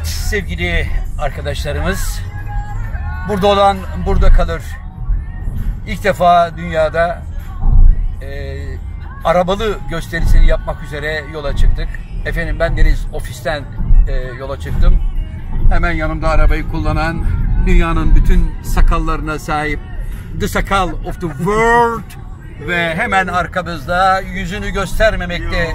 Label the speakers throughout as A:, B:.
A: sevgili arkadaşlarımız. Burada olan burada kalır. İlk defa dünyada e, arabalı gösterisini yapmak üzere yola çıktık. Efendim ben Deniz ofisten e, yola çıktım. Hemen yanımda arabayı kullanan dünyanın bütün sakallarına sahip The Sakal of the World ve hemen arkamızda yüzünü göstermemekte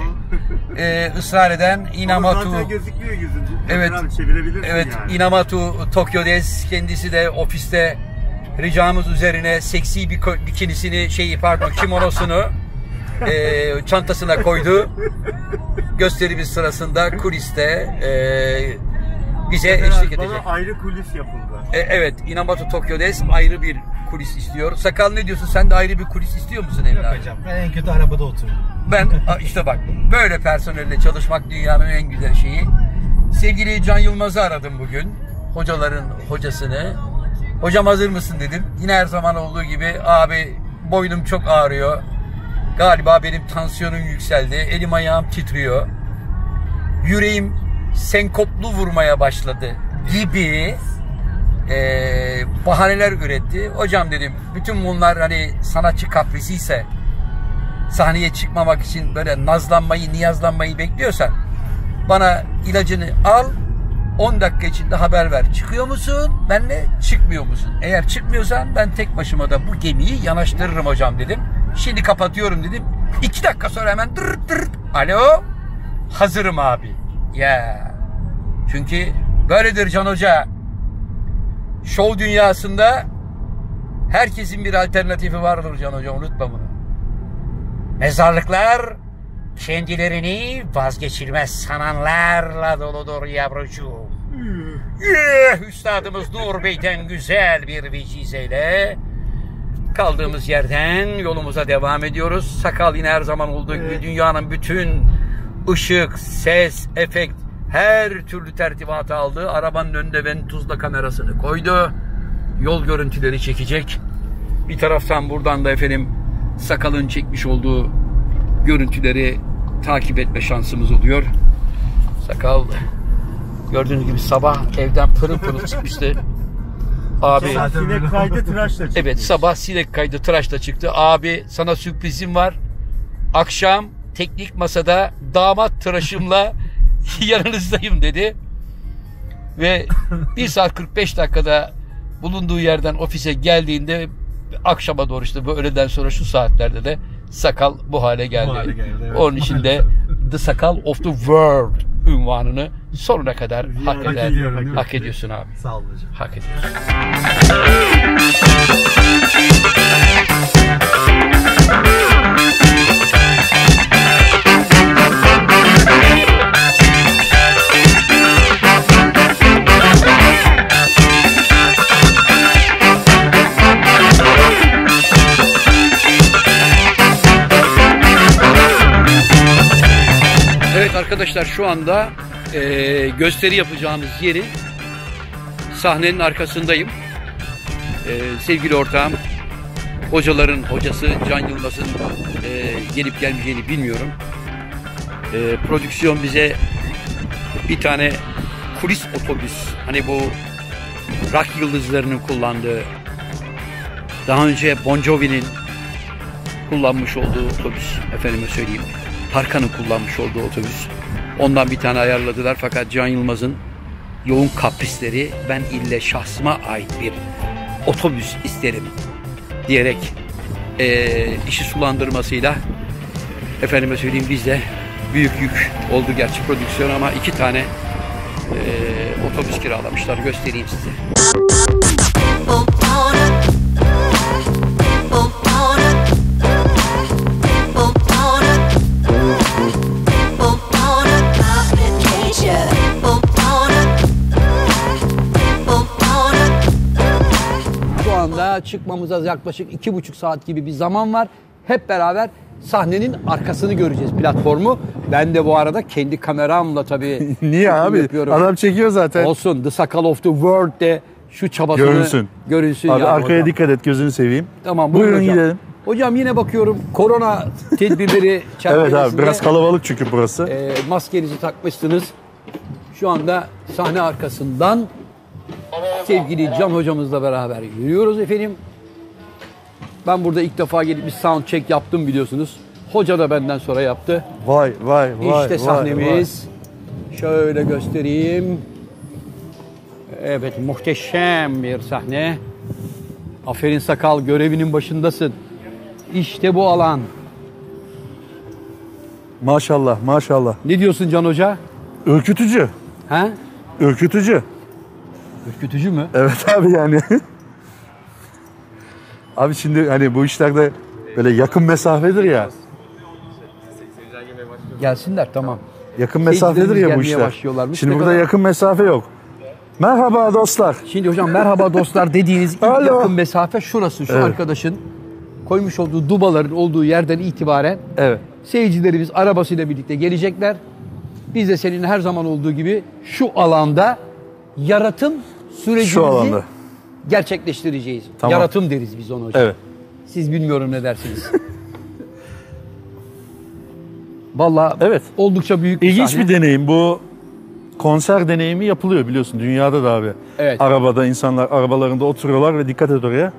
A: e, ısrar eden
B: Ama
A: Inamatu.
B: zaten gözükmüyor yüzün.
A: Evet.
B: Abi çevirebilirsin
A: Evet,
B: yani.
A: Inamatu Tokyo'des. Kendisi de ofiste ricamız üzerine seksi bir ko- bikinisini, şeyi pardon kimonosunu eee, çantasına koydu. Gösterimiz sırasında kuliste eee, bize
B: Sefer
A: eşlik
B: abi,
A: edecek.
B: Bana ayrı kulis yapıldı.
A: E, evet, Inamatu Tokyo'des ayrı bir kulis istiyor. Sakal ne diyorsun? Sen de ayrı bir kulis istiyor musun Emre abi?
C: Ben en kötü arabada otururum.
A: Ben a, işte bak böyle personelle çalışmak dünyanın en güzel şeyi. Sevgili Can Yılmaz'ı aradım bugün. Hocaların hocasını. Hocam hazır mısın dedim. Yine her zaman olduğu gibi abi boynum çok ağrıyor. Galiba benim tansiyonum yükseldi. Elim ayağım titriyor. Yüreğim senkoplu vurmaya başladı gibi eee, bahaneler üretti. Hocam dedim bütün bunlar hani sanatçı kaprisi ise sahneye çıkmamak için böyle nazlanmayı, niyazlanmayı bekliyorsan bana ilacını al 10 dakika içinde haber ver. Çıkıyor musun? Benle çıkmıyor musun? Eğer çıkmıyorsan ben tek başıma da bu gemiyi yanaştırırım hocam dedim. Şimdi kapatıyorum dedim. 2 dakika sonra hemen dır dır. Alo? Hazırım abi. Ya. Çünkü böyledir Can Hoca. Şov dünyasında herkesin bir alternatifi vardır Can Hoca unutma bunu. Mezarlıklar kendilerini vazgeçilmez sananlarla doludur yavrucuğum. Eh, Üstadımız Nur Bey'den güzel bir vecizeyle kaldığımız yerden yolumuza devam ediyoruz. Sakal yine her zaman olduğu gibi dünyanın bütün ışık, ses, efekt her türlü tertibatı aldı. Arabanın önünde Ventuz'la kamerasını koydu. Yol görüntüleri çekecek. Bir taraftan buradan da efendim sakalın çekmiş olduğu görüntüleri takip etme şansımız oluyor. Sakal gördüğünüz gibi sabah evden pırıl pırıl çıkmıştı. Abi
B: Sen
C: Zaten öyle
B: sinek kaydı tıraşla çıktı.
A: Evet sabah sinek kaydı tıraşla çıktı. Abi sana sürprizim var. Akşam teknik masada damat tıraşımla yanınızdayım dedi. Ve 1 saat 45 dakikada bulunduğu yerden ofise geldiğinde akşama doğru işte bu öğleden sonra şu saatlerde de sakal bu hale geldi.
C: hale geldi, evet.
A: Onun için de The Sakal of the World ünvanını sonuna kadar hak
B: hak
A: eder.
C: ediyorum, değil mi?
A: Hak ediyorsun abi.
C: Sağ ol hocam.
A: Hak ediyorsun. Evet arkadaşlar şu anda eee, gösteri yapacağımız yeri sahnenin arkasındayım. Eee, sevgili ortağım hocaların hocası Can Yılmaz'ın eee, gelip gelmeyeceğini bilmiyorum. Eee, prodüksiyon bize bir tane kulis otobüs hani bu rock yıldızlarının kullandığı daha önce Bon Jovi'nin kullanmış olduğu otobüs efendime söyleyeyim. Tarkan'ın kullanmış olduğu otobüs. Ondan bir tane ayarladılar fakat Can Yılmaz'ın yoğun kaprisleri ben ille şahsıma ait bir otobüs isterim diyerek eee, işi sulandırmasıyla efendime söyleyeyim bizde büyük yük oldu gerçi prodüksiyon ama iki tane eee, otobüs kiralamışlar göstereyim size. Şu anda çıkmamıza yaklaşık iki buçuk saat gibi bir zaman var. Hep beraber sahnenin arkasını göreceğiz platformu. Ben de bu arada kendi kameramla tabii
D: Niye
A: çekim
D: abi?
A: yapıyorum.
D: Adam çekiyor zaten.
A: Olsun The Sakal of the World de şu çabasını
D: Görünsün.
A: görünsün
D: abi
A: yani
D: arkaya
A: hocam.
D: dikkat et gözünü seveyim.
A: Tamam
D: Buyurun
A: hocam.
D: gidelim.
A: Hocam yine bakıyorum korona tedbirleri
D: Evet abi
A: çerçevesinde,
D: biraz kalabalık çünkü burası.
A: e, maskenizi takmışsınız.
E: Ee, Şu anda sahne arkasından sevgili Can hocamızla beraber yürüyoruz efendim. Ben burada ilk defa gelip bir sound check yaptım biliyorsunuz. Hoca da benden sonra yaptı.
C: Vay vay vay. vay,
E: işte sahnemiz. Şöyle göstereyim. Evet muhteşem bir sahne. Aferin sakal görevinin başındasın. İşte bu alan.
C: vay. Maşallah maşallah.
E: Ne diyorsun Can Hoca?
C: Ürkütücü.
E: Ha?
C: Ürkütücü.
E: Ürkütücü mü?
C: Evet abi yani. abi şimdi hani bu işlerde böyle yakın mesafedir ya.
E: Gelsinler tamam.
C: Yakın mesafedir ya bu
E: gelmeye
C: işler.
E: başlıyorlarmış.
C: Şimdi
E: Ne
C: burada
E: kadar-
C: yakın mesafe yok. Merhaba dostlar.
E: Şimdi hocam merhaba dostlar dediğiniz ilk
C: Alo.
E: yakın mesafe şurası. Şu
C: Evet.
E: arkadaşın koymuş olduğu dubaların olduğu yerden itibaren
C: Evet.
E: seyircilerimiz arabasıyla birlikte gelecekler. Biz de senin her zaman olduğu gibi şu alanda yaratım sürecimizi
C: Şu alanda.
E: gerçekleştireceğiz.
C: Tamam.
E: Yaratım deriz biz ona hocam.
C: Evet.
E: Siz bilmiyorum ne dersiniz. Vallahi
C: Evet.
E: oldukça büyük bir
C: İlginç
E: sahne.
C: bir deneyim bu. Konser deneyimi yapılıyor biliyorsun dünyada da abi.
E: Evet.
C: Arabada insanlar arabalarında oturuyorlar ve dikkat et oraya.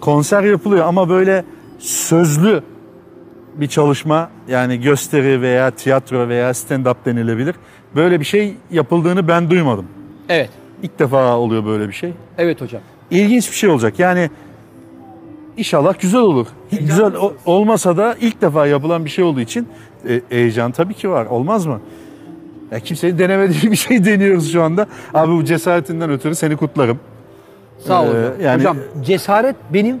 C: Konser yapılıyor ama böyle sözlü bir çalışma yani gösteri veya tiyatro veya stand-up denilebilir. Böyle bir şey yapıldığını ben duymadım.
E: Evet.
C: İlk defa oluyor böyle bir şey.
E: Evet hocam.
C: İlginç bir şey olacak yani inşallah güzel olur. Güzel o- olmasa da ilk defa yapılan bir şey olduğu için e, heyecan tabii ki var olmaz mı? Ya kimsenin denemediği bir şey deniyoruz şu anda. Abi bu cesaretinden ötürü seni kutlarım.
E: Sağ olun.
C: Ee,
E: hocam.
C: yani-
E: hocam cesaret benim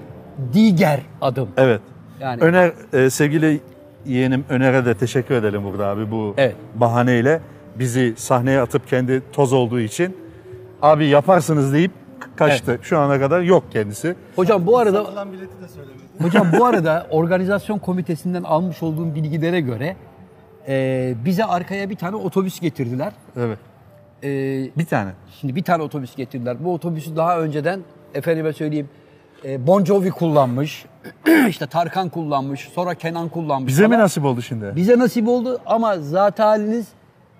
E: diğer adım.
C: Evet.
E: Yani
C: Öner e, sevgili yeğenim Öner'e de teşekkür edelim burada abi bu
E: Evet.
C: bahaneyle bizi sahneye atıp kendi toz olduğu için abi yaparsınız deyip kaçtı. Şu ana kadar yok kendisi.
E: hocam bu arada
F: Alan bileti de söylemedi.
E: Hocam bu arada organizasyon komitesinden almış olduğum bilgilere göre e, bize arkaya bir tane otobüs getirdiler.
C: Evet.
E: E,
C: Bir tane.
E: şimdi bir tane otobüs getirdiler. Bu otobüsü daha önceden efendime söyleyeyim e, Bon Jovi kullanmış, işte Tarkan kullanmış, sonra Kenan kullanmış.
C: Bize mi
E: falan.
C: nasip oldu şimdi?
E: Bize nasip oldu ama zat haliniz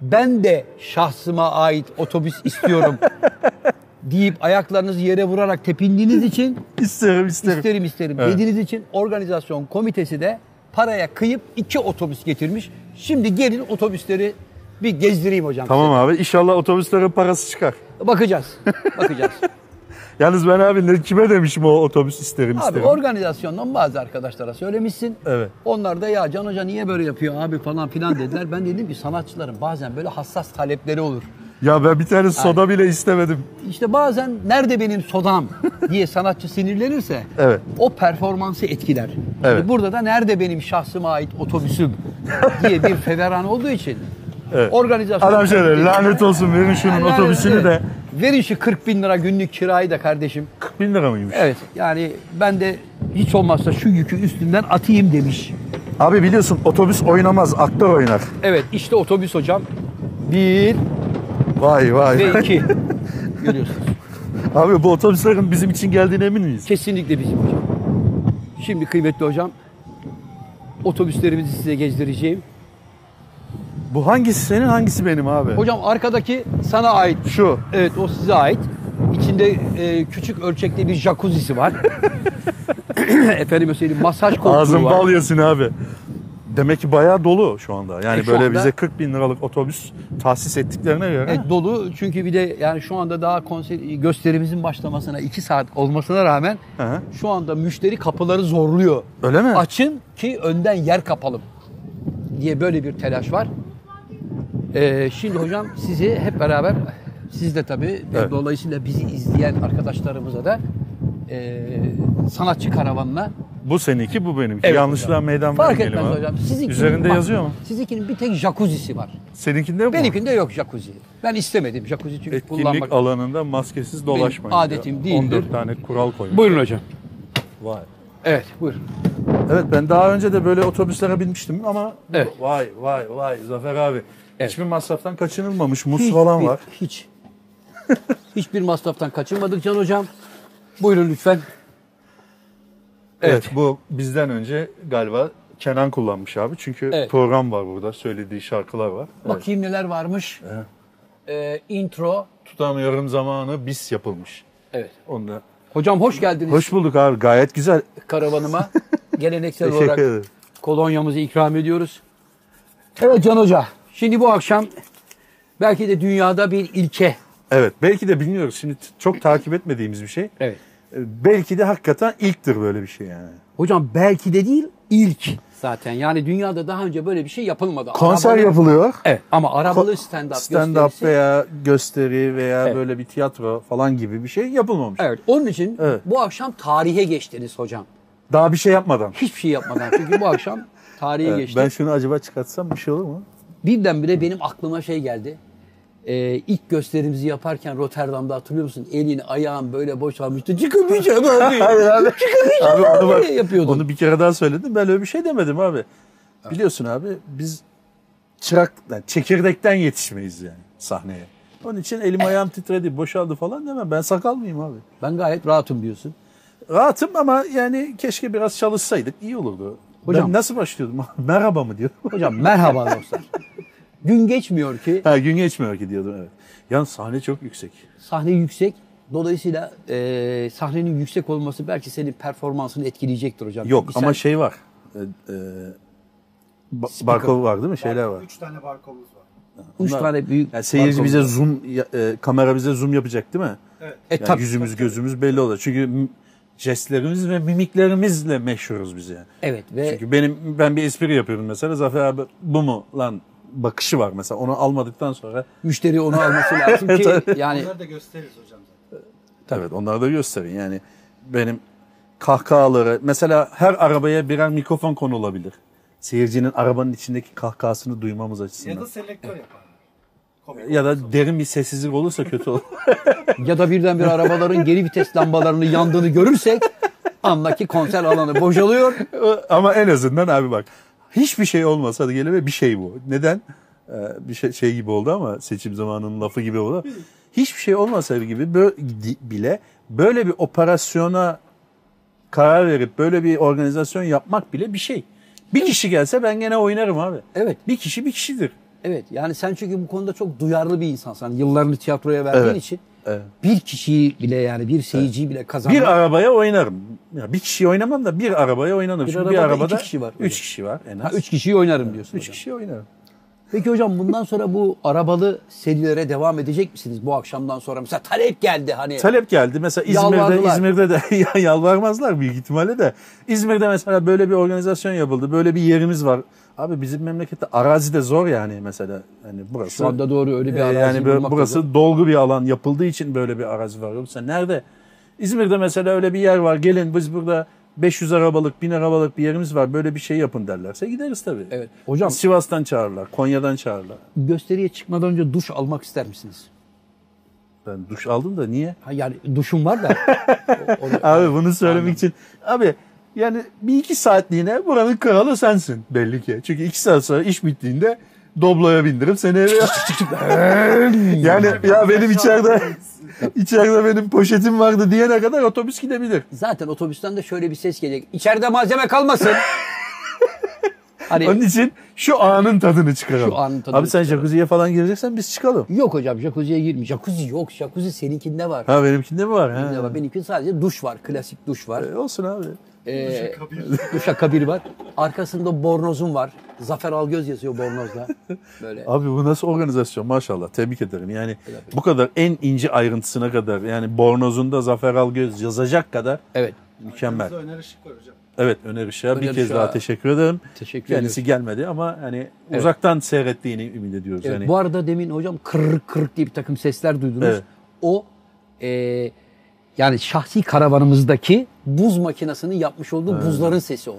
E: ben de şahsıma ait otobüs istiyorum deyip ayaklarınızı yere vurarak tepindiğiniz için
C: İsterim isterim.
E: İsterim isterim
C: Evet.
E: dediğiniz için organizasyon komitesi de paraya kıyıp iki otobüs getirmiş. Şimdi gelin otobüsleri bir gezdireyim hocam.
C: Tamam abi inşallah otobüslerin parası çıkar.
E: size. Bakacağız. Bakacağız.
C: Yalnız ben abi ne kime demişim o otobüs isterim
E: abi
C: isterim.
E: organizasyondan bazı arkadaşlara söylemişsin.
C: Evet.
E: Onlar da ya Can Hoca niye böyle yapıyor abi falan filan dediler. Ben dedim ki sanatçıların bazen böyle hassas talepleri olur.
C: ya ben bir tane soda bile istemedim.
E: İşte bazen nerede benim sodam diye sanatçı sinirlenirse
C: Evet.
E: o performansı etkiler. Şimdi
C: Evet.
E: burada da nerede benim şahsıma ait otobüsüm diye bir feveran olduğu için
C: Evet.
E: organizasyon...
C: Adam şöyle lanet olsun verin şunun
E: Yani,
C: otobüsünü
E: evet.
C: de.
E: Verin şu 40 bin lira günlük kirayı da kardeşim.
C: 40 bin lira mıymış?
E: Evet yani ben de hiç olmazsa şu yükü üstümden atayım demiş.
C: Abi biliyorsun otobüs oynamaz aktör oynar.
E: Evet işte otobüs hocam. Bir
C: Vay vay.
E: ve iki. Görüyorsunuz.
C: Abi bu otobüslerin bizim için geldiğine emin miyiz?
E: Kesinlikle bizim hocam. Şimdi kıymetli hocam otobüslerimizi size gezdireceğim.
C: Bu hangisi senin hangisi benim abi?
E: Hocam arkadaki sana ait.
C: Şu.
E: Evet o size ait. İçinde e, küçük ölçekte bir jacuzzisi var. Efendim söyleyeyim masaj koltuğu
C: Ağzın
E: var.
C: bal yesin abi. Demek ki bayağı dolu şu anda. Yani
E: E, şu
C: böyle
E: anda- E,
C: bize 40 bin liralık otobüs tahsis ettiklerine göre.
E: Evet, dolu çünkü bir de yani şu anda daha konser gösterimizin başlamasına 2 saat olmasına rağmen
C: Hı hı.
E: şu anda müşteri kapıları zorluyor.
C: Öyle mi?
E: Açın ki önden yer kapalım diye böyle bir telaş var. Ee, şimdi hocam sizi hep beraber siz de tabii ve
C: Evet.
E: dolayısıyla bizi izleyen arkadaşlarımıza da e, sanatçı karavanına
C: Bu seninki, bu benimki.
E: Evet
C: Yanlışlığa
E: hocam.
C: meydan
E: fark
C: vermeyelim
E: etmez
C: abi.
E: hocam. Sizinkinin,
C: Üzerinde
E: bak,
C: yazıyor mu?
E: Sizinkinin bir tek jacuzzisi var.
C: Seninkinde mi?
E: Benimkinde yok jacuzzi. Ben istemedim jacuzzi çünkü
C: Etkinlik
E: kullanmak.
C: alanında maskesiz dolaşmayın. diyor.
E: adetim değildir.
C: 14 tane kural koymuş.
E: Buyurun hocam.
C: Vay.
E: Evet buyurun.
C: Evet ben daha önce de böyle otobüslere binmiştim ama
E: Evet.
C: vay vay vay Zafer abi.
E: Evet.
C: Hiçbir masraftan kaçınılmamış. Mus falan
E: Hiçbir-
C: var.
E: Hiç. Hiçbir masraftan kaçınmadık Can Hocam. Buyurun lütfen.
C: Evet. bu bizden önce galiba Kenan kullanmış abi. Çünkü
E: Evet.
C: program var burada. Söylediği şarkılar var. Evet.
E: Bakayım neler varmış. e, intro.
C: Tutamıyorum zamanı biz yapılmış.
E: Evet.
C: Onda.
E: Hocam hoş geldiniz
C: Hoş bulduk abi gayet güzel.
E: karavanıma. Geleneksel
C: Teşekkür
E: olarak
C: ederim.
E: kolonyamızı ikram ediyoruz. Evet Can Hoca. Şimdi bu akşam belki de dünyada bir ilke.
C: Evet belki de bilmiyoruz şimdi t- çok takip etmediğimiz bir şey.
E: Evet.
C: E, Belki de hakikaten ilktir böyle bir şey yani.
E: Hocam belki de değil ilk zaten. Yani dünyada daha önce böyle bir şey yapılmadı.
C: Konser
E: Arabalı-
C: yapılıyor.
E: Evet ama arabalı stand-up
C: Stand-up
E: gösterisi-
C: veya gösteri veya
E: Evet.
C: böyle bir tiyatro falan gibi bir şey yapılmamış.
E: Evet onun için
C: Evet.
E: bu akşam tarihe geçtiniz hocam.
C: Daha bir şey yapmadan.
E: Hiçbir şey yapmadan çünkü bu akşam tarihe
C: Evet,
E: geçtik.
C: Ben şunu acaba çıkartsam bir şey olur mu?
E: Birdenbire benim aklıma şey geldi. Ee, ilk gösterimizi yaparken Rotterdam'da hatırlıyor musun? Elin ayağın böyle boşalmıştı. Çıkamayacağım abi.
C: Abi onu, bak-
E: Niye şey yapıyordun?
C: onu bir kere daha söyledim. Ben öyle bir şey demedim abi. Biliyorsun abi biz çırak, yani çekirdekten yetişmeyiz yani sahneye. Onun için elim ayağım titredi, boşaldı falan demem. Ben sakal mıyım abi?
E: ben gayet rahatım diyorsun.
C: Rahatım ama yani keşke biraz çalışsaydık iyi olurdu.
E: Hocam-
C: ben nasıl başlıyordum? Merhaba mı diyordum.
E: Hocam merhaba dostlar. Gün geçmiyor ki
C: Ha, gün geçmiyor ki diyordum evet. Yalnız sahne çok yüksek.
E: sahne yüksek. Dolayısıyla e, sahnenin yüksek olması belki senin performansını etkileyecektir hocam.
C: Yok
E: Çünkü
C: ama
E: sen-
C: şey var. E, e, ba- barkov var değil mi? Şeyler var.
G: Üç tane barkomuz var.
E: üç
C: Bunlar-
E: tane büyük
C: Yani seyirci
E: balkon-
C: bize zoom, ya- e, kamera bize zoom yapacak değil mi?
G: Evet.
E: E,
C: Yani
E: tabii.
C: yüzümüz gözümüz belli olur. Çünkü m- jestlerimiz ve mimiklerimizle meşhuruz biz yani.
E: Evet ve
C: Çünkü benim ben bir espri yapıyorum mesela Zafer abi bu mu lan bakışı var mesela onu almadıktan sonra
E: müşteri onu alması lazım ki
C: E-
E: yani
D: Bunları da gösteririz hocam zaten.
C: evet onları da gösterin yani benim kahkahaları mesela her arabaya birer mikrofon konulabilir. Seyircinin arabanın içindeki kahkahasını duymamız açısından.
D: Ya da selektör yapar.
C: E,
D: Komik.
C: ya da derin bir sessizlik olursa kötü olur.
E: ya da birdenbire arabaların geri vites lambalarını yandığını görürsek anla ki konser alanı boşalıyor.
C: Ama en azından abi bak hiçbir şey olmasa da gelime bir şey bu. Neden? Ee, bir şey, şey gibi oldu ama seçim zamanının lafı gibi oldu. Hiçbir şey olmasa gibi bö- di- bile böyle bir operasyona karar verip böyle bir organizasyon yapmak bile bir şey. Bir kişi gelse ben gene oynarım abi.
E: Evet.
C: Bir kişi bir kişidir.
E: Evet yani sen çünkü bu konuda çok duyarlı bir insansın. Hani Yıllarını tiyatroya verdiğin
C: Evet.
E: için
C: Evet.
E: bir kişiyi bile yani bir seyirciyi bile kazanmak.
C: Bir arabaya oynarım. Ya bir kişi oynamam da bir arabaya oynarım.
E: Bir
C: Çünkü
E: arabada
C: bir
E: iki
C: arabada
E: kişi var.
C: Üç kişi var en az.
E: Ha, üç kişiyi oynarım diyorsun.
C: üç
E: hocam.
C: kişi oynarım.
E: Peki hocam bundan sonra bu arabalı serilere devam edecek misiniz bu akşamdan sonra? Mesela talep geldi hani.
C: Talep geldi. Mesela İzmir'de
E: Yalvardılar.
C: İzmir'de de ya yalvarmazlar büyük ihtimalle de. İzmir'de mesela böyle bir organizasyon yapıldı. Böyle bir yerimiz var. Abi bizim memlekette arazi de zor yani mesela. Hani burası
E: Şu anda doğru öyle bir
C: e,
E: arazi
C: yani
E: bulmak da
C: böyle burası
E: zor.
C: dolgu bir alan yapıldığı için böyle bir arazi var. Yoksa nerede? İzmir'de mesela öyle bir yer var. Gelin biz burada 500 arabalık, 1000 arabalık bir yerimiz var. Böyle bir şey yapın derlerse gideriz tabii.
E: Evet. Hocam-
C: Sivas'tan çağırırlar, Konya'dan çağırırlar.
E: Gösteriye çıkmadan önce duş almak ister misiniz?
C: Ben duş aldım da niye?
E: Ha, yani duşum var da. O- o-
C: Abi bunu söylemek için abi yani bir iki saatliğine buranın kralı sensin belli ki. Çünkü iki saat sonra iş bittiğinde Doblo'ya bindirip seni eve yani ya benim içeride içeride benim poşetim vardı diyene kadar otobüs gidebilir.
E: Zaten otobüsten de şöyle bir ses gelecek. İçeride malzeme kalmasın. hani
C: Onun için şu anın tadını çıkaralım.
E: Şu anın tadını
C: abi sen jacuzziye falan gireceksen biz çıkalım.
E: yok hocam jacuzziye girme. Jacuzzi yok. Jacuzzi seninkinde var.
C: Ha benimkinde mi var?
E: Benimkinde
C: Ha.
E: var. Benimkinde sadece duş var. Klasik duş var.
C: E, Olsun abi.
E: Ee,
G: Kabir.
E: duşakabir var. Arkasında bornozum var. Zafer Algöz yazıyor bornozla. Böyle.
C: Abi bu nasıl organizasyon maşallah tebrik ederim. Yani bu kadar en ince ayrıntısına kadar yani bornozunda Zafer Algöz yazacak kadar
E: Evet.
C: Mükemmel.
D: Arkanızda Öner Işık var hocam.
C: Evet Öner Işık'a
E: Öner
C: bir kez
E: Işık'a
C: daha teşekkür ederim.
E: teşekkür
C: Kendisi gelmedi ama hani uzaktan seyrettiğini ümit ediyoruz.
E: Evet,
C: yani.
E: Bu arada demin hocam kırık kırık diye bir takım sesler duydunuz.
C: Evet.
E: O e, yani şahsi karavanımızdaki buz makinesinin yapmış olduğu buzların sesi o.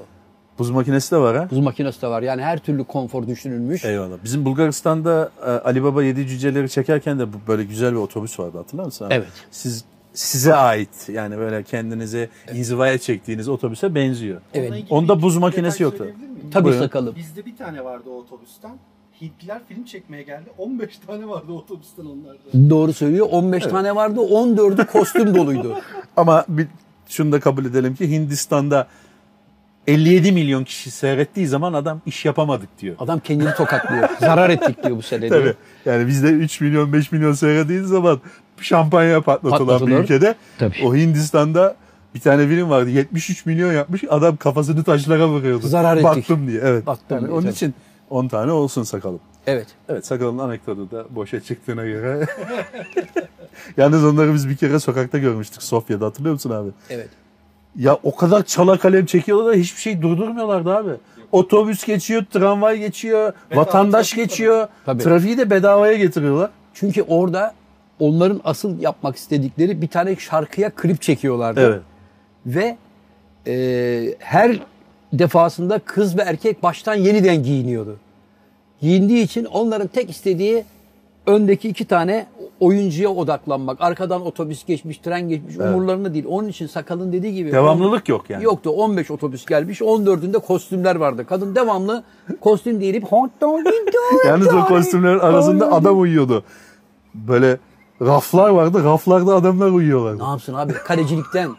C: Buz makinesi de var ha.
E: Buz makinesi de var. Yani her türlü konfor düşünülmüş.
C: Eyvallah. Bizim Bulgaristan'da e, Ali Baba Yedi Cüceleri çekerken de bu- böyle güzel bir otobüs vardı hatırlar mısın? abi?
E: Evet.
C: Siz size ait yani böyle kendinizi inzivaya çektiğiniz otobüse benziyor.
E: Evet.
D: Onunla ilgili
C: Onda
D: bir
C: buz
D: detay
C: makinesi yoktu.
D: söyleyebilir miyim?
E: Tabii
C: Buyurun.
E: sakalım.
D: Bizde bir tane vardı o otobüsten. Hintliler film çekmeye geldi. 15 tane vardı otobüsten onlarda.
E: Doğru söylüyor. 15 tane vardı. 14'ü kostüm doluydu.
C: Ama bir, şunu da kabul edelim ki Hindistan'da 57 milyon kişi seyrettiği zaman adam iş yapamadık diyor.
E: Adam kendini tokatlıyor. Zarar ettik diyor bu sene diyor.
C: Tabii. Yani bizde 3 milyon 5 milyon seyrettiğiniz zaman şampanya patlatılan bir
E: Patlatılır.
C: ülkede
E: Tabii.
C: o Hindistan'da bir tane film vardı 73 milyon yapmış adam kafasını taşlara vuruyordu.
E: Zarar ettik.
C: Baktım diye evet.
E: Baktım
C: Yani
E: diye,
C: onun
E: tabii.
C: için 10 tane olsun sakalım.
E: Evet.
C: Evet sakalın anekdotu da boşa çıktığına göre. Yalnız onları biz bir kere sokakta görmüştük Sofya'da hatırlıyor musun abi?
E: Evet.
C: Ya o kadar çala kalem çekiyorlar da hiçbir şey durdurmuyorlardı abi. Otobüs geçiyor, tramvay geçiyor, vatandaş
D: trafik
C: geçiyor.
E: Tabii.
C: Trafiği de bedavaya getiriyorlar.
E: Çünkü orada onların asıl yapmak istedikleri bir tane şarkıya klip çekiyorlardı.
C: Evet.
E: Ve e, her defasında kız ve erkek baştan yeniden giyiniyordu. Giyindiği için onların tek istediği öndeki iki tane oyuncuya odaklanmak. Arkadan otobüs geçmiş, tren geçmiş umurlarında değil. Onun için sakalın dediği gibi.
C: Devamlılık yok yani.
E: Yoktu. 15 otobüs gelmiş. 14'ünde kostümler vardı. Kadın devamlı kostüm giyip hot dog, hot dog,
C: Yalnız o kostümlerin arasında adam uyuyordu. Böyle raflar vardı. Raflarda adamlar uyuyorlardı.
E: Ne yapsın abi kalecilikten.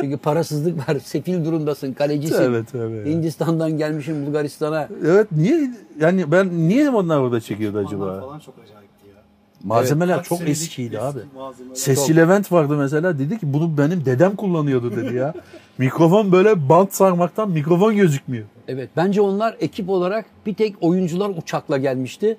E: Çünkü parasızlık var. Sefil durumdasın. Kalecisin.
C: Evet, evet.
E: Hindistan'dan gelmişim Bulgaristan'a.
C: Evet niye yani ben niye onlar orada çekiyordu
D: Onlar
C: acaba?
D: falan çok acayipti ya.
C: Malzemeler
D: Kaç
C: çok
D: senelik
C: eskiydi
D: eski
C: abi.
D: malzemeler.
C: Sesli Levent vardı mesela dedi ki bunu benim dedem kullanıyordu dedi ya. mikrofon böyle bant sarmaktan mikrofon gözükmüyor.
E: Evet bence onlar ekip olarak bir tek oyuncular uçakla gelmişti.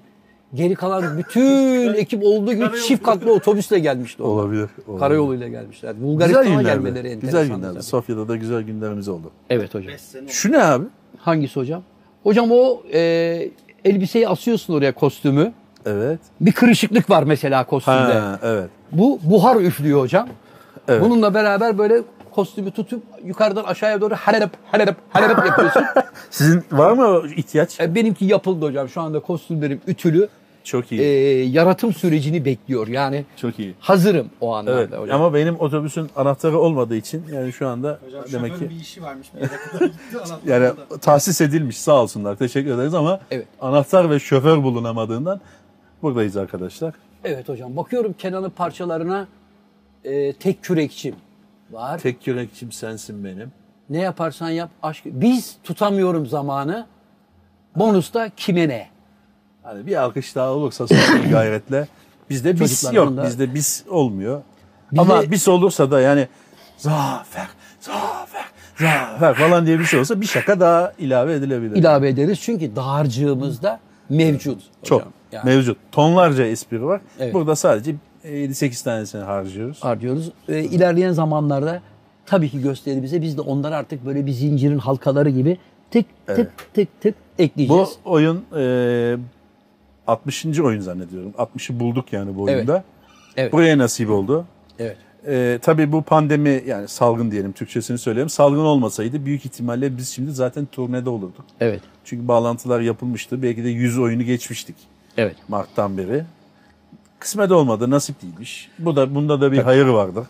E: Geri kalan bütün ekip olduğu gibi çift katlı otobüsle gelmişti. onlar.
C: Olabilir. olabilir.
E: Karayoluyla gelmişler.
C: Güzel
E: Bulgaristan'a gelmeleri
C: günlerdi.
E: enteresan.
C: Güzel günlerdi. Sofya'da da güzel günlerimiz oldu.
E: Evet hocam.
D: Beş sene oldu.
C: Şu ne abi?
E: Hangisi hocam? Hocam o e, elbiseyi asıyorsun oraya kostümü.
C: Evet.
E: Bir kırışıklık var mesela kostümde.
C: Ha, evet.
E: Bu buhar üflüyor hocam.
C: Evet.
E: Bununla beraber böyle kostümü tutup yukarıdan aşağıya doğru halerep halerep halerep yapıyorsun.
C: Sizin var mı o ihtiyaç?
E: E, benimki yapıldı hocam. Şu anda kostümlerim ütülü.
C: Çok iyi.
E: E, yaratım sürecini bekliyor. Yani
C: Çok iyi.
E: hazırım o anlamda
C: Evet.
E: hocam.
C: Ama benim otobüsün anahtarı olmadığı için yani şu anda
D: Hocam
C: demek ki
D: bir işi varmış bir yere kadar gitti anahtarı
C: yani
D: da.
C: tahsis edilmiş sağ olsunlar. Teşekkür ederiz ama
E: Evet.
C: anahtar ve şoför bulunamadığından buradayız arkadaşlar.
E: Evet hocam. Bakıyorum Kenan'ın parçalarına e, tek kürekçim var.
C: Tek kürekçim sensin benim.
E: Ne yaparsan yap aşk. Biz tutamıyorum zamanı. Bonusta kime ne?
C: Hani bir alkış daha olursa son bir gayretle. Bizde biz
E: Çocuklar
C: yok.
E: bunda-
C: Bizde biz olmuyor.
E: Bize-
C: Ama biz olursa da yani zafer, zafer, zafer falan diye bir şey olsa bir şaka daha ilave edilebilir.
E: ilave ederiz. Çünkü dağarcığımızda mevcut hocam.
C: Çok
E: Yani.
C: mevcut. Tonlarca espri var.
E: Evet.
C: Burada sadece 7-8 tanesini harcıyoruz.
E: arıyoruz. Ee, ilerleyen zamanlarda tabii ki gösterimize biz de onları artık böyle bir zincirin halkaları gibi tık tık tık tık
C: Bu
E: ekleyeceğiz.
C: oyun e, 60. oyun zannediyorum. 60'ı bulduk yani bu
E: Evet.
C: oyunda.
E: Evet.
C: Buraya nasip oldu.
E: Evet.
C: E, tabii bu pandemi yani salgın diyelim Türkçesini söyleyeyim. Salgın olmasaydı büyük ihtimalle biz şimdi zaten turnede olurduk.
E: Evet.
C: Çünkü bağlantılar yapılmıştı. Belki de 100 oyunu geçmiştik
E: Evet.
C: Mart'tan beri. Kısmet olmadı, nasip değilmiş. Bu da bunda da bir hayır vardır.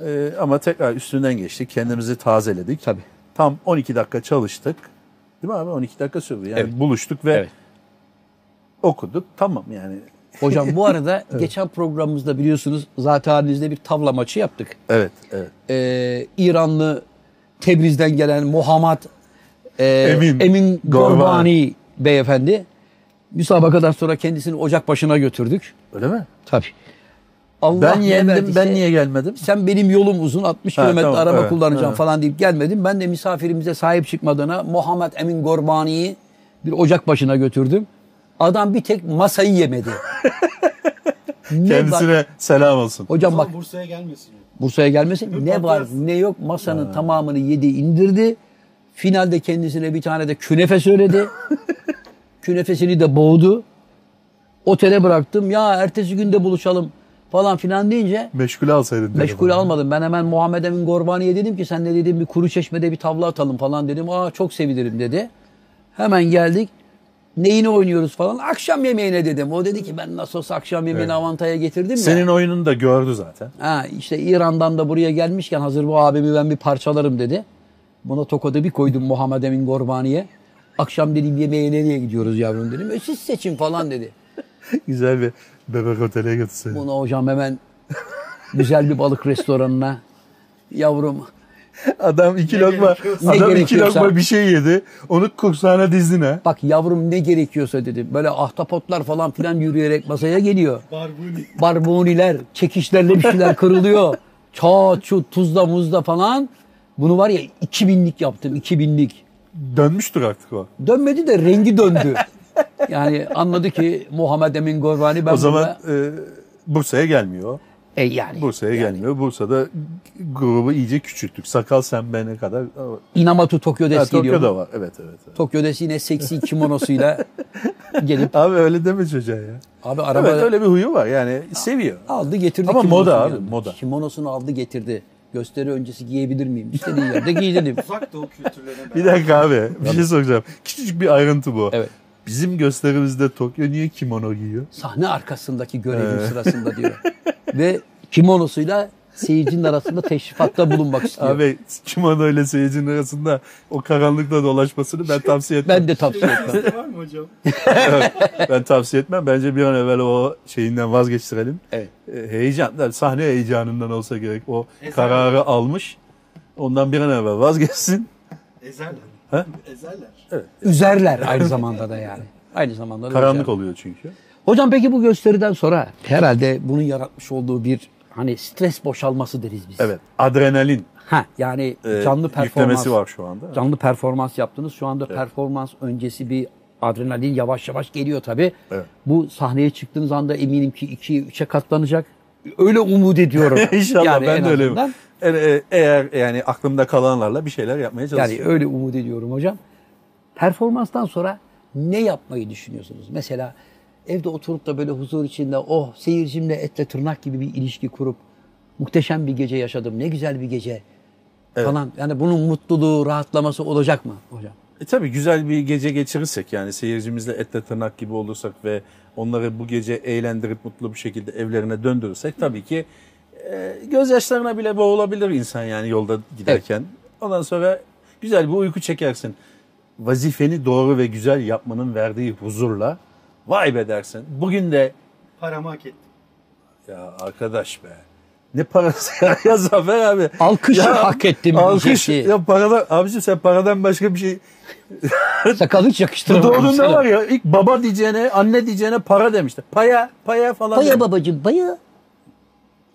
C: E, ama tekrar üstünden geçtik. Kendimizi tazeledik.
E: Tabii.
C: Tam 12 dakika çalıştık. Değil mi abi? 12 dakika sürdü. Yani
E: Evet.
C: buluştuk ve
E: Evet.
C: okuduk. Tamam yani.
E: Hocam bu arada geçen programımızda biliyorsunuz zaten halinizde bir tavla maçı yaptık.
C: Evet, evet.
E: Ee, İranlı Tebriz'den gelen Muhammed e,
C: Emin
E: Emin,
C: Gorbani.
E: Gorbani beyefendi. Müsabakadan sonra kendisini ocak başına götürdük.
C: Öyle mi?
E: Tabii. Allah
C: Ben
E: ne
C: yendim,
E: verdiyse-
C: ben niye gelmedim?
E: sen benim yolum uzun 60
C: Ha,
E: kilometre
C: tamam,
E: araba
C: evet,
E: kullanacağım
C: evet.
E: falan deyip gelmedim. Ben de misafirimize sahip çıkmadığına Muhammed Emin Gorbani'yi bir ocak başına götürdüm. Adam bir tek masayı yemedi. ne var?
C: Kendisine selam olsun.
E: Hocam
D: Ama
E: bak
D: Bursa'ya gelmesin.
E: Bursa'ya gelmesin ne var ne yok masanın tamamını yedi indirdi. Finalde kendisine bir tane de künefe söyledi. Künefesini de boğdu. Otele bıraktım. Ya ertesi günde buluşalım falan filan deyince
C: Meşgule alsaydın. dedi
E: Meşgul
C: bana.
E: almadım. Ben hemen Muhammed Emin Gorbani'ye dedim ki sen de dedim bir kuru çeşmede bir tavla atalım falan dedim. Aa çok sevinirim dedi. Hemen geldik. Neyini oynuyoruz falan. Akşam yemeğine dedim. O dedi ki ben nasıl olsa akşam yemeğini avantaya getirdim
C: Senin
E: ya.
C: oyununu da gördü zaten.
E: Ha, işte İran'dan da buraya gelmişken hazır bu abimi ben bir parçalarım dedi. Buna tokadı bir koydum Muhammed Emin Gorbani'ye. Akşam dedim yemeğe nereye gidiyoruz yavrum dedim. E siz seçin falan dedi.
C: Güzel bir bebek otele götürseydin.
E: Bunu hocam hemen güzel bir balık restoranına yavrum
C: Adam iki lokma,
E: Ne
C: adam iki
E: gerekiyorsa.
C: lokma bir şey yedi. Onu kursağına dizine.
E: Bak yavrum ne gerekiyorsa dedi. Böyle ahtapotlar falan filan yürüyerek masaya geliyor.
D: Barbuni.
E: Barbuniler, çekişlerle bir şeyler kırılıyor. Çat çut, tuzla muzla falan. Bunu var ya 2000'lik yaptım 2000'lik.
C: Dönmüştür artık o.
E: Dönmedi de rengi döndü. Yani anladı ki Muhammed Emin Gorvani ben
C: o zaman
E: buna-
C: e, Bursa'ya gelmiyor. o.
E: E yani
C: Bursa'ya gelmiyor. Bursa'da grubu iyice küçülttük. Sakal sen bene kadar. Ha,
E: Inamatu Tokyo Desi geliyor.
C: Tokyo'da var. Evet evet. evet.
E: Tokyo Desi yine seksi kimonosuyla gelip
C: Abi öyle deme çocuğa ya.
E: abi araba
C: Evet öyle bir huyu var yani seviyor.
E: aldı getirdi.
C: Ama
E: kimonosunu
C: moda abi,
E: yanına.
C: moda.
E: Kimonosunu aldı getirdi. Gösteri öncesi giyebilir miyim? İstediği yerde giydirdim.
D: Uzak doğu kültürlerine
C: Bir
D: beraber.
C: dakika abi bir şey soracağım. Küçücük bir ayrıntı bu.
E: Evet.
C: Bizim gösterimizde Tokyo niye kimono giyiyor?
E: Sahne arkasındaki görevim sırasında diyor. Ve kimonosuyla seyircinin arasında teşrifatta bulunmak istiyor.
C: Abi kimono ile seyircinin arasında o karanlıkta dolaşmasını ben tavsiye etmem.
E: ben de tavsiye etmem.
D: Bizde var mı hocam?
C: ben tavsiye etmem. Bence bir an evvel o şeyinden vazgeçtirelim.
E: Evet.
C: E, Heyecan, yani sahne heyecanından olsa gerek. O
D: Ezel.
C: kararı almış. Ondan bir an evvel vazgeçsin.
D: Ezerler.
C: Ha?
D: Ezerler.
E: Üzerler aynı zamanda da yani. Aynı zamanda da
C: Karanlık
E: üzerler.
C: oluyor çünkü.
E: Hocam peki bu gösteriden sonra herhalde bunun yaratmış olduğu bir hani stres boşalması deriz biz.
C: Evet. Adrenalin
E: Ha yani
C: e,
E: canlı performans
C: yüklemesi var şu anda.
E: Canlı performans yaptınız. Şu anda performans öncesi bir adrenalin yavaş yavaş geliyor tabii.
C: Evet.
E: Bu sahneye çıktığınız anda eminim ki ikiye üçe katlanacak. Öyle umut ediyorum.
C: İnşallah
E: Yani en
C: ben de öyle.
E: azından.
C: E, e, Eğer yani aklımda kalanlarla bir şeyler yapmaya çalışıyorum.
E: Yani öyle umut ediyorum hocam. Performanstan sonra ne yapmayı düşünüyorsunuz? Mesela evde oturup da böyle huzur içinde oh seyircimle etle tırnak gibi bir ilişki kurup muhteşem bir gece yaşadım. Ne güzel bir gece falan. Yani bunun mutluluğu, rahatlaması olacak mı hocam?
C: E tabii güzel bir gece geçirirsek yani seyircimizle etle tırnak gibi olursak ve onları bu gece eğlendirip mutlu bir şekilde evlerine döndürürsek tabii ki e, gözyaşlarına bile boğulabilir insan yani yolda giderken. Ondan sonra güzel bir uyku çekersin. Vazifeni doğru ve güzel yapmanın verdiği huzurla vay be dersin. Bugün de
D: Paramı hak ettim.
C: ya arkadaş be ne parası ya, ya Zafer abi.
E: Alkışı
C: Ya,
E: hak ettim.
C: Alkış.
E: diyecekti.
C: Ya paradan, abicim sen paradan başka bir şey
E: Sakalı hiç
C: Bu
E: yakıştıramadım.
C: doğru ne
E: sana.
C: var ya? İlk baba diyeceğine, anne diyeceğine para demişler. Paya, paya falan.
E: Baya
C: demiş.
E: babacığım baya.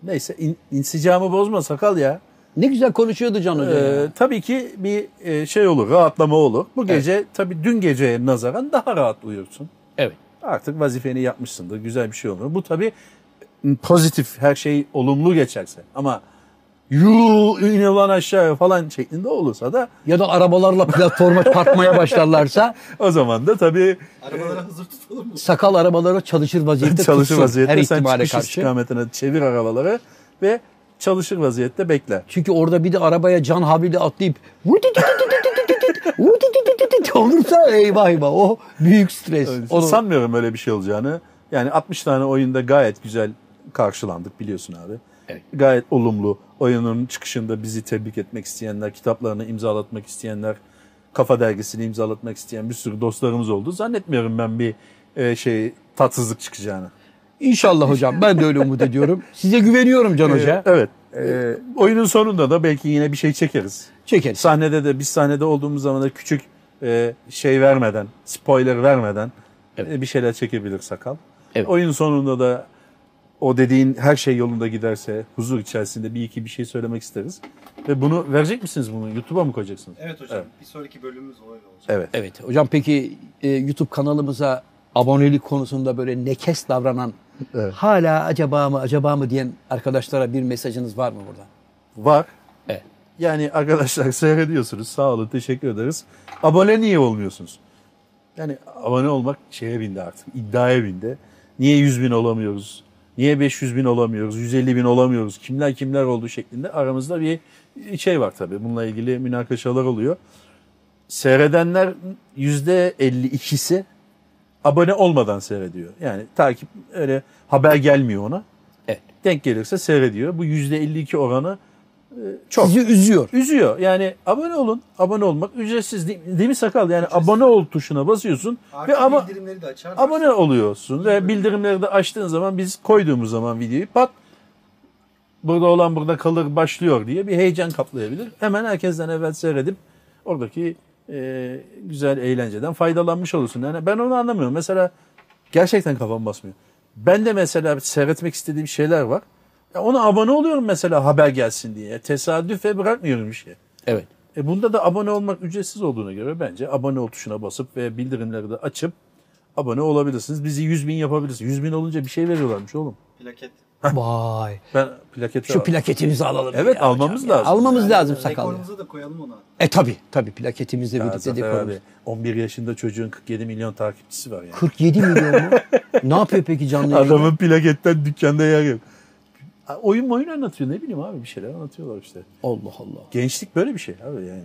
C: Neyse in, insicamı bozma sakal ya.
E: Ne güzel konuşuyordu Can Hoca. ya.
C: Ee, tabii ki bir e, şey olur, rahatlama olur. Bu gece tabii dün geceye nazaran daha rahat uyursun.
E: Evet.
C: Artık vazifeni yapmışsındır, güzel bir şey olur. Bu tabii m, pozitif, her şey olumlu geçerse. Ama yuu in ulan aşağıya falan şeklinde olursa da
E: Ya da arabalarla platforma çarpmaya başlarlarsa
C: o zaman da tabii
D: Arabalara hazır tutalım mı?
E: sakal arabalara çalışır vaziyette
C: çalışır
E: tutsun her
C: vaziyette sen
E: ihtimale
C: çıkış
E: karşı.
C: istikametine çevir arabaları ve çalışır vaziyette bekle.
E: Çünkü orada bir de arabaya can havliyle atlayıp olursa eyvah eyvah o büyük stres. Onu-
C: Sanmıyorum öyle bir şey olacağını. Yani 60 tane oyunda gayet güzel karşılandık biliyorsun abi. Gayet olumlu. Oyunun çıkışında bizi tebrik etmek isteyenler, kitaplarını imzalatmak isteyenler, kafa dergisini imzalatmak isteyen bir sürü dostlarımız oldu. Zannetmiyorum ben bir e, şey tatsızlık çıkacağını.
E: İnşallah hocam ben de öyle umut ediyorum. Size güveniyorum Can Hoca.
C: Ee, evet. Ee, oyunun sonunda da belki yine bir şey çekeriz.
E: Çekeriz.
C: Sahnede de biz sahnede olduğumuz zaman da küçük e, şey vermeden, spoiler vermeden
E: Evet.
C: e, bir şeyler çekebilir sakal.
E: Evet.
C: Oyun sonunda da o dediğin her şey yolunda giderse huzur içerisinde bir iki bir şey söylemek isteriz. Ve bunu verecek misiniz bunu? YouTube'a mı koyacaksınız?
D: Evet hocam.
C: Evet.
D: Bir sonraki bölümümüz o öyle olacak.
C: Evet.
E: Evet hocam peki e, YouTube kanalımıza abonelik konusunda böyle nekes davranan
C: Evet.
E: hala acaba mı acaba mı diyen arkadaşlara bir mesajınız var mı burada?
C: Var.
E: Evet.
C: Yani arkadaşlar seyrediyorsunuz. Sağ olun. Teşekkür ederiz. Abone niye olmuyorsunuz? Yani abone olmak şeye bindi artık. iddiaya bindi. Niye 100 bin olamıyoruz? Niye 500 bin olamıyoruz? 150 bin olamıyoruz? Kimler kimler oldu şeklinde aramızda bir şey var tabii. Bununla ilgili münakaşalar oluyor. Seyredenler %52'si abone olmadan seyrediyor. Yani takip öyle haber gelmiyor ona.
E: Evet.
C: Denk gelirse seyrediyor. Bu %52 oranı Çok.
E: Sizi üzüyor.
C: üzüyor. Yani abone olun. Abone olmak ücretsiz değil, değil mi sakal? Yani abone ol tuşuna basıyorsun
D: Artık
C: ve ama
D: bildirimleri de açar.
C: abone oluyorsun ve bildirimleri de açtığın zaman biz koyduğumuz zaman videoyu pat burada olan burada kalır başlıyor diye bir heyecan kaplayabilir. Hemen herkesten evvel seyredip oradaki e, güzel eğlenceden faydalanmış olursun. Yani ben onu anlamıyorum. Mesela gerçekten kafam basmıyor. Ben de mesela seyretmek istediğim şeyler var. Ya ona abone oluyorum mesela haber gelsin diye. Tesadüfe bırakmıyorum işi.
E: Evet.
C: E bunda da abone olmak ücretsiz olduğuna göre bence abone ol tuşuna basıp ve bildirimleri de açıp abone olabilirsiniz. Bizi 100 bin yapabilirsiniz. 100 bin olunca bir şey veriyorlarmış oğlum.
D: Plaket.
E: Vay.
C: Ben plaketi
E: Şu plaketimizi alalım.
C: Evet,
E: ya
C: almamız
E: hocam ya.
C: lazım.
E: Almamız lazım sakallı.
D: Dekorumuza da koyalım onu.
E: E tabi tabi plaketimizle
C: Ya
E: birlikte
C: Zafer
E: dekorumuz.
C: abi, 11 yaşında çocuğun 47 milyon takipçisi var yani.
E: 47 milyon mu? ne yapıyor peki canlı yayında?
C: Adamın plaketten dükkanda yer yok. Ha, Oyun oyun anlatıyor ne bileyim abi bir şeyler anlatıyorlar işte.
E: Allah Allah.
C: Gençlik böyle bir şey abi yani.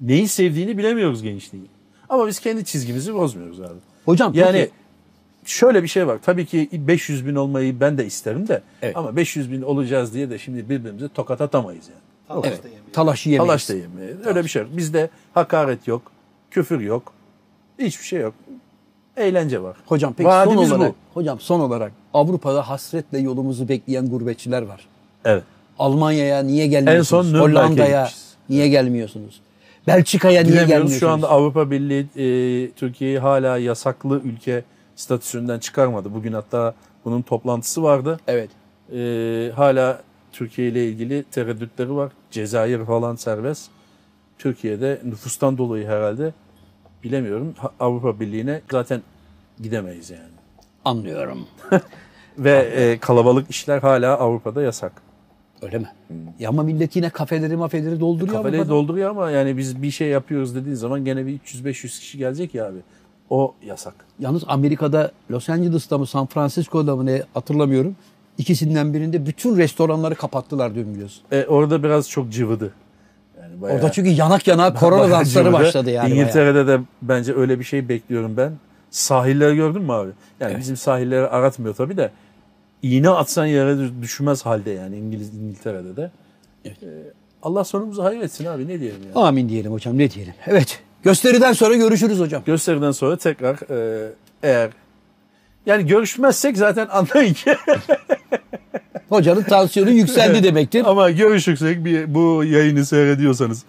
C: Neyi sevdiğini bilemiyoruz gençliğin. Ama biz kendi çizgimizi bozmuyoruz abi.
E: Hocam
C: Yani
E: peki,
C: şöyle bir şey var. Tabii ki 500 bin olmayı ben de isterim de.
E: Evet.
C: Ama 500 bin olacağız diye de şimdi birbirimize tokat atamayız yani.
D: Tamam
E: evet,
D: işte yemeği.
E: talaşı yemeyiz.
C: Talaş da yemeyelim. Öyle bir şey yok. Bizde hakaret yok. Küfür yok. Hiçbir şey yok. Eğlence var.
E: Hocam peki
C: Vaadimiz
E: son olarak,
C: bu.
E: hocam son olarak Avrupa'da hasretle yolumuzu bekleyen gurbetçiler var.
C: Evet.
E: Almanya'ya niye gelmiyorsunuz?
C: En son Nürnberg'e
E: Hollanda'ya
C: gitmişiz.
E: niye gelmiyorsunuz? Belçika'ya niye
C: Bilemiyoruz.
E: gelmiyorsunuz?
C: Şu anda Avrupa Birliği e, Türkiye'yi hala yasaklı ülke statüsünden çıkarmadı. Bugün hatta bunun toplantısı vardı.
E: Evet.
C: E, hala Türkiye ile ilgili tereddütleri var. Cezayir falan serbest. Türkiye'de nüfustan dolayı herhalde bilemiyorum. Ha- Avrupa Birliği'ne zaten gidemeyiz yani.
E: Anlıyorum.
C: Ve
E: Ah,
C: e, kalabalık işler hala Avrupa'da yasak.
E: Öyle mi? Ya ama millet yine kafeleri mafeleri dolduruyor.
C: Kafeleri
E: Avrupa'da.
C: dolduruyor ama yani biz bir şey yapıyoruz dediğin zaman gene bir 300-500 kişi gelecek ya abi. O yasak.
E: Yalnız Amerika'da Los Angeles'ta mı San Francisco'da mı ne hatırlamıyorum. İkisinden birinde bütün restoranları kapattılar dün biliyorsun.
C: E, orada biraz çok cıvıdı. Yani bayağı-
E: Orada çünkü yanak yana korona
C: bayağı
E: dansları
C: cıvıdı.
E: başladı yani. bayağı.
C: İngiltere'de de bence öyle bir şey bekliyorum ben. Sahilleri gördün mü abi? Yani bizim sahilleri aratmıyor tabii de. İğne atsan yere düş- düşmez halde yani İngiliz İngiltere'de de. E, Allah sonumuzu hayır etsin abi ne diyelim yani.
E: Amin diyelim hocam ne diyelim. Evet gösteriden sonra görüşürüz hocam.
C: Gösteriden sonra tekrar e, eğer yani görüşmezsek zaten anlayın ki
E: Hocanın tansiyonu yükseldi demektir.
C: Ama görüşürsek bir bu yayını seyrediyorsanız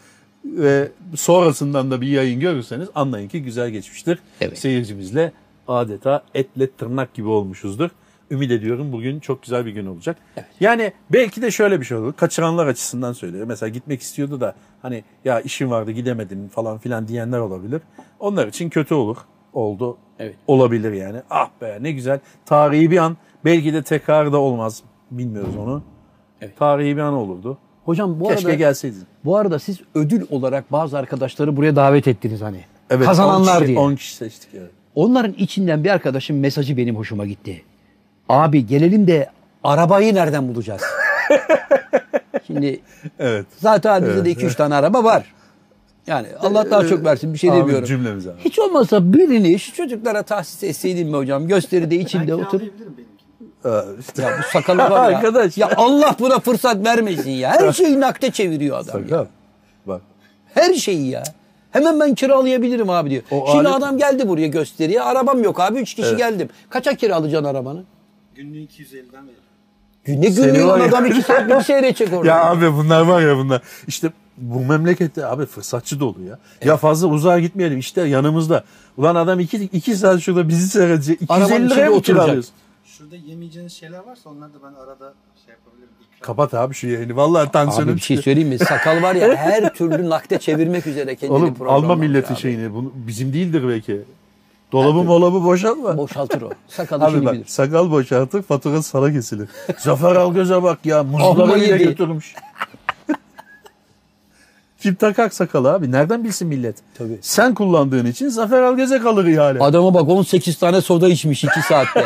C: ve sonrasından da bir yayın görürseniz anlayın ki güzel geçmiştir.
E: Evet.
C: Seyircimizle adeta etle tırnak gibi olmuşuzdur. Ümit ediyorum bugün çok güzel bir gün olacak. Yani belki de şöyle bir şey olur. Kaçıranlar açısından söylüyorum. Mesela gitmek istiyordu da hani ya işim vardı gidemedim falan filan diyenler olabilir. Onlar için kötü olur. Oldu.
E: Evet.
C: Olabilir yani. Ah be ne güzel. Tarihi bir an belki de tekrar da olmaz. Bilmiyoruz onu. Tarihi bir an olurdu.
E: Hocam bu
C: Keşke
E: arada
C: gelseydin.
E: bu arada siz ödül olarak bazı arkadaşları buraya davet ettiniz hani.
C: Evet,
E: Kazananlar
C: 10 kişi,
E: diye.
C: 10 kişi seçtik evet.
E: Onların içinden bir arkadaşın mesajı benim hoşuma gitti. Abi gelelim de arabayı nereden bulacağız? Şimdi
C: Evet.
E: zaten bizde de 2-3 tane araba var. Yani Allah daha çok versin bir şey
C: Abi
E: demiyorum.
C: cümlemize abi.
E: Hiç olmazsa birini şu çocuklara tahsis etseydin mi hocam? Gösteride içinde
D: Ben
E: otur.
D: kiralayabilirim benimkini.
C: Evet.
E: Ya bu sakalı var ya.
C: Arkadaş.
E: Ya Allah buna fırsat vermesin ya. Her şeyi nakde çeviriyor adam ya.
C: Sakal. Bak.
E: Her şeyi ya. Hemen ben kiralayabilirim abi diyor.
C: O
E: Şimdi
C: alet-
E: adam geldi buraya gösteriye. Arabam yok abi. Üç kişi geldim. Kaça kiralayacaksın arabanı?
D: Günlüğü 250'den veririm.
E: Ne
C: Seni
E: gülüyor
C: var ya.
E: adam iki saat bir seyredecek orada.
C: Ya abi bunlar var ya bunlar. İşte bu memlekette abi fırsatçı dolu ya. Ya fazla uzağa gitmeyelim işte yanımızda. Ulan adam 2 2 saat şurada bizi seyredecek.
E: Arabanın
C: 250
E: içinde
C: liraya mı
E: oturacak.
C: kiralıyorsun?
D: Şurada yemeyeceğiniz şeyler varsa onları da ben arada şey yapabilirim. ikram.
C: Kapat abi şu yayını. Vallahi tansiyonum
E: Abi bir şey
C: çıktı.
E: söyleyeyim mi? Sakal var ya her türlü nakde çevirmek üzere kendini
C: Oğlum şey- alma
E: programlamış
C: milletin
E: abi.
C: şeyini. Bunu, bizim değildir belki. Dolabı molabı boşaltma.
E: Boşaltır o. Sakalı
C: Abi
E: şimdi
C: bak
E: bilir.
C: sakal boşaltır fatura sana kesilir. Zafer Algöz'e bak ya
E: Amma
C: muzları bile
E: yedi.
C: götürmüş. Kim takak sakalı abi? Nereden bilsin millet?
E: Tabii.
C: Sen kullandığın için Zafer Algöz'e kalır ihale.
E: Adama bak 18 tane soda içmiş 2 saatte.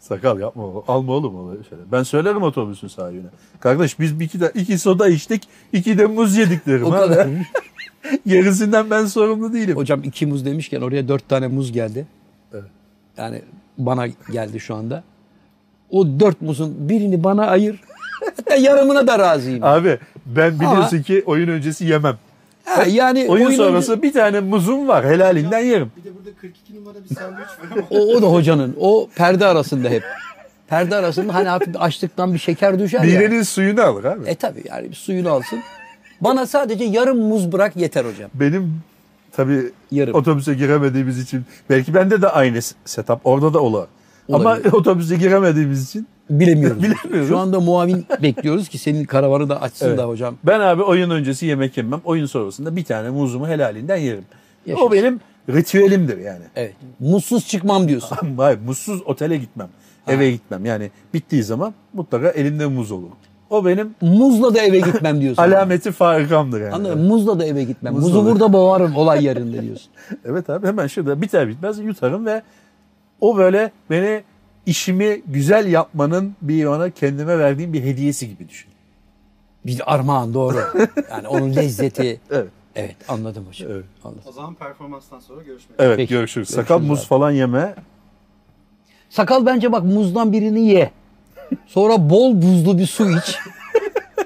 C: Sakal yapma oğlum. Alma oğlum onu. Şöyle. Ben söylerim otobüsün sahibine. Kardeş biz bir iki, de, iki soda içtik, iki de muz yedik derim.
E: o
C: ha.
E: kadar.
C: Gerisinden ben sorumlu değilim.
E: Hocam iki muz demişken oraya dört tane muz geldi. Yani bana geldi şu anda. O dört muzun birini bana ayır. Hatta yarımına da razıyım.
C: Abi ben biliyorsun
E: Ama-
C: ki oyun öncesi yemem.
E: Ha, yani
C: Oyun,
E: E, oyun
C: sonrası bir tane muzum var helalinden yerim.
D: Bir de burada 42 numara bir sandviç var ama
E: O, o da hocanın. O perde arasında hep. Perde arasında hani hafif bir açlıktan bir şeker düşer ya.
C: Midenin suyunu alır abi.
E: E tabii yani bir suyunu alsın. Bana sadece yarım muz bırak yeter hocam.
C: Benim tabii
E: Yarım.
C: otobüse giremediğimiz için belki bende de aynı setup orada da ola. Ama
E: Olabilir.
C: otobüse giremediğimiz için
E: Bilemiyoruz.
C: Bilemiyoruz.
E: Şu anda muavin bekliyoruz ki senin karavanı da açsın
C: Evet.
E: da hocam.
C: ben abi oyun öncesi yemek yemem. Oyun sonrasında bir tane muzumu helalinden yerim.
E: Yaşasın.
C: O benim ritüelimdir yani.
E: Evet. Muzsuz çıkmam diyorsun.
C: Ama hayır, muzsuz otele gitmem. Eve gitmem. Yani bittiği zaman mutlaka elimde muz olur. O benim
E: Muzla da eve gitmem diyorsun.
C: alameti farikamdır yani.
E: Anladın mı? Muzla da eve gitmem.
C: Muzla
E: Muzu
C: da-
E: burada boğarım olay yerinde diyorsun.
C: Evet abi hemen şurada biter bitmez yutarım ve o böyle beni işimi güzel yapmanın bir bana kendime verdiğim bir hediyesi gibi düşün.
E: Bir armağan doğru. Yani onun lezzeti.
C: Evet.
E: Evet anladım hocam.
C: Evet.
E: Anladım.
D: O zaman performanstan sonra görüşmek üzere.
C: Evet
E: Peki.
C: görüşürüz. Sakal
E: Görüşürüz
C: muz
E: abi.
C: falan yeme.
E: Sakal bence bak muzdan birini ye. Sonra bol buzlu bir su iç.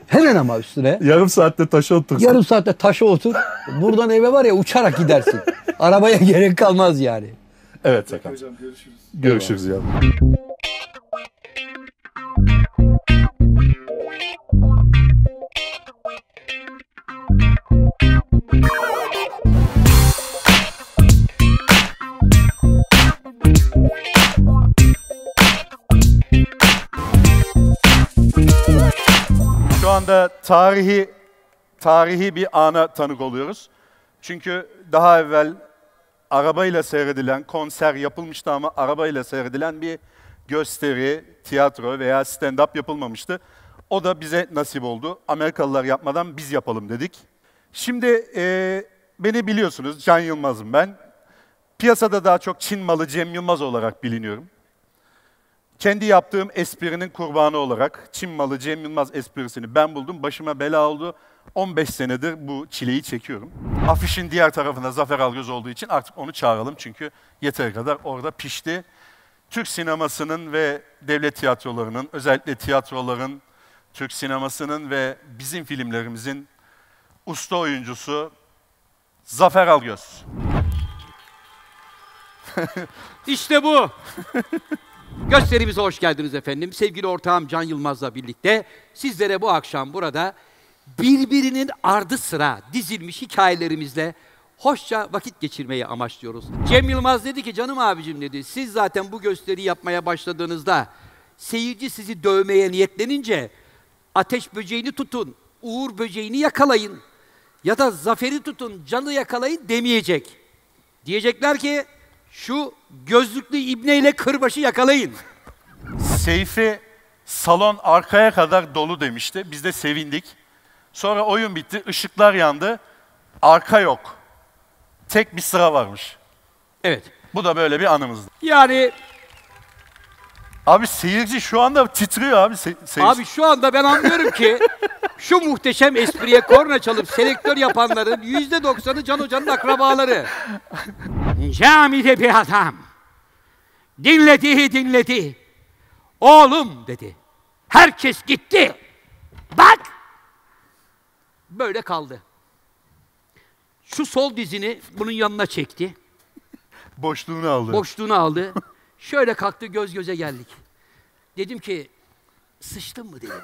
E: Hemen ama üstüne.
C: Yarım saatte taşa otursun.
E: Yarım saatte taşa otur. Buradan eve var ya uçarak gidersin. Arabaya gerek kalmaz yani.
C: Evet sakal.
D: Hocam görüşürüz.
C: Görüşürüz yavrum. Şu anda tarihi tarihi bir ana tanık oluyoruz. Çünkü daha evvel arabayla seyredilen, konser yapılmıştı ama arabayla seyredilen bir gösteri, tiyatro veya stand-up yapılmamıştı. O da bize nasip oldu. Amerikalılar yapmadan biz yapalım dedik. Şimdi e, beni biliyorsunuz, Can Yılmaz'ım ben. Piyasada daha çok Çin malı Cem Yılmaz olarak biliniyorum. Kendi yaptığım esprinin kurbanı olarak Çin malı Cem Yılmaz esprisini ben buldum. Başıma bela oldu. 15 senedir bu çileyi çekiyorum. Afişin diğer tarafında Zafer Algöz olduğu için artık onu çağıralım çünkü yeteri kadar orada pişti. Türk sinemasının ve devlet tiyatrolarının, özellikle tiyatroların, Türk sinemasının ve bizim filmlerimizin usta oyuncusu Zafer Algöz.
H: İşte bu. Gösterimize hoş geldiniz efendim. Sevgili ortağım Can Yılmaz'la birlikte sizlere bu akşam burada birbirinin ardı sıra dizilmiş hikayelerimizle hoşça vakit geçirmeyi amaçlıyoruz. Cem Yılmaz dedi ki canım abicim dedi siz zaten bu gösteriyi yapmaya başladığınızda seyirci sizi dövmeye niyetlenince ateş böceğini tutun, uğur böceğini yakalayın ya da zaferi tutun, canı yakalayın demeyecek. Diyecekler ki şu gözlüklü ibneyle kırbaşı yakalayın.
I: Seyfi salon arkaya kadar dolu demişti. Biz de sevindik. Sonra oyun bitti, ışıklar yandı. Arka yok. Tek bir sıra varmış.
H: Evet.
I: Bu da böyle bir anımızdı.
H: Yani
I: Abi seyirci şu anda titriyor abi. Se- seyirci.
H: abi şu anda ben anlıyorum ki şu muhteşem espriye korna çalıp selektör yapanların yüzde doksanı Can Hoca'nın akrabaları. Camide bir adam dinledi dinledi. Oğlum dedi. Herkes gitti. Bak. Böyle kaldı. Şu sol dizini bunun yanına çekti.
I: boşluğunu aldı.
H: Boşluğunu aldı. Şöyle kalktı göz göze geldik. Dedim ki sıçtın mı dedim.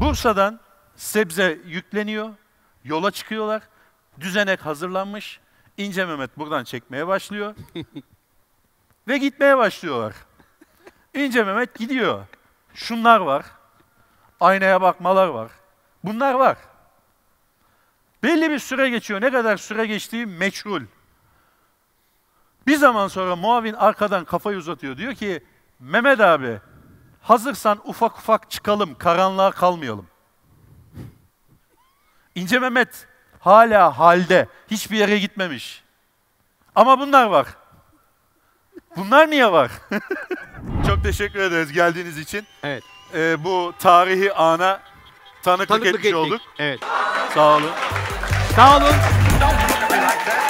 I: Bursa'dan sebze yükleniyor. Yola çıkıyorlar. Düzenek hazırlanmış. İnce Mehmet buradan çekmeye başlıyor. Ve gitmeye başlıyorlar. İnce Mehmet gidiyor. Şunlar var. Aynaya bakmalar var. Bunlar var. Belli bir süre geçiyor. Ne kadar süre geçtiği meçhul. Bir zaman sonra muavin arkadan kafayı uzatıyor. Diyor ki Mehmet abi Hazırsan ufak ufak çıkalım, karanlığa kalmayalım. İnce Mehmet hala halde, hiçbir yere gitmemiş. Ama bunlar var. Bunlar niye var? Çok teşekkür ederiz geldiğiniz için.
H: Evet.
I: Ee, bu tarihi ana tanıklık, etmiş olduk.
H: Evet.
I: Sağ olun.
H: Sağ olun.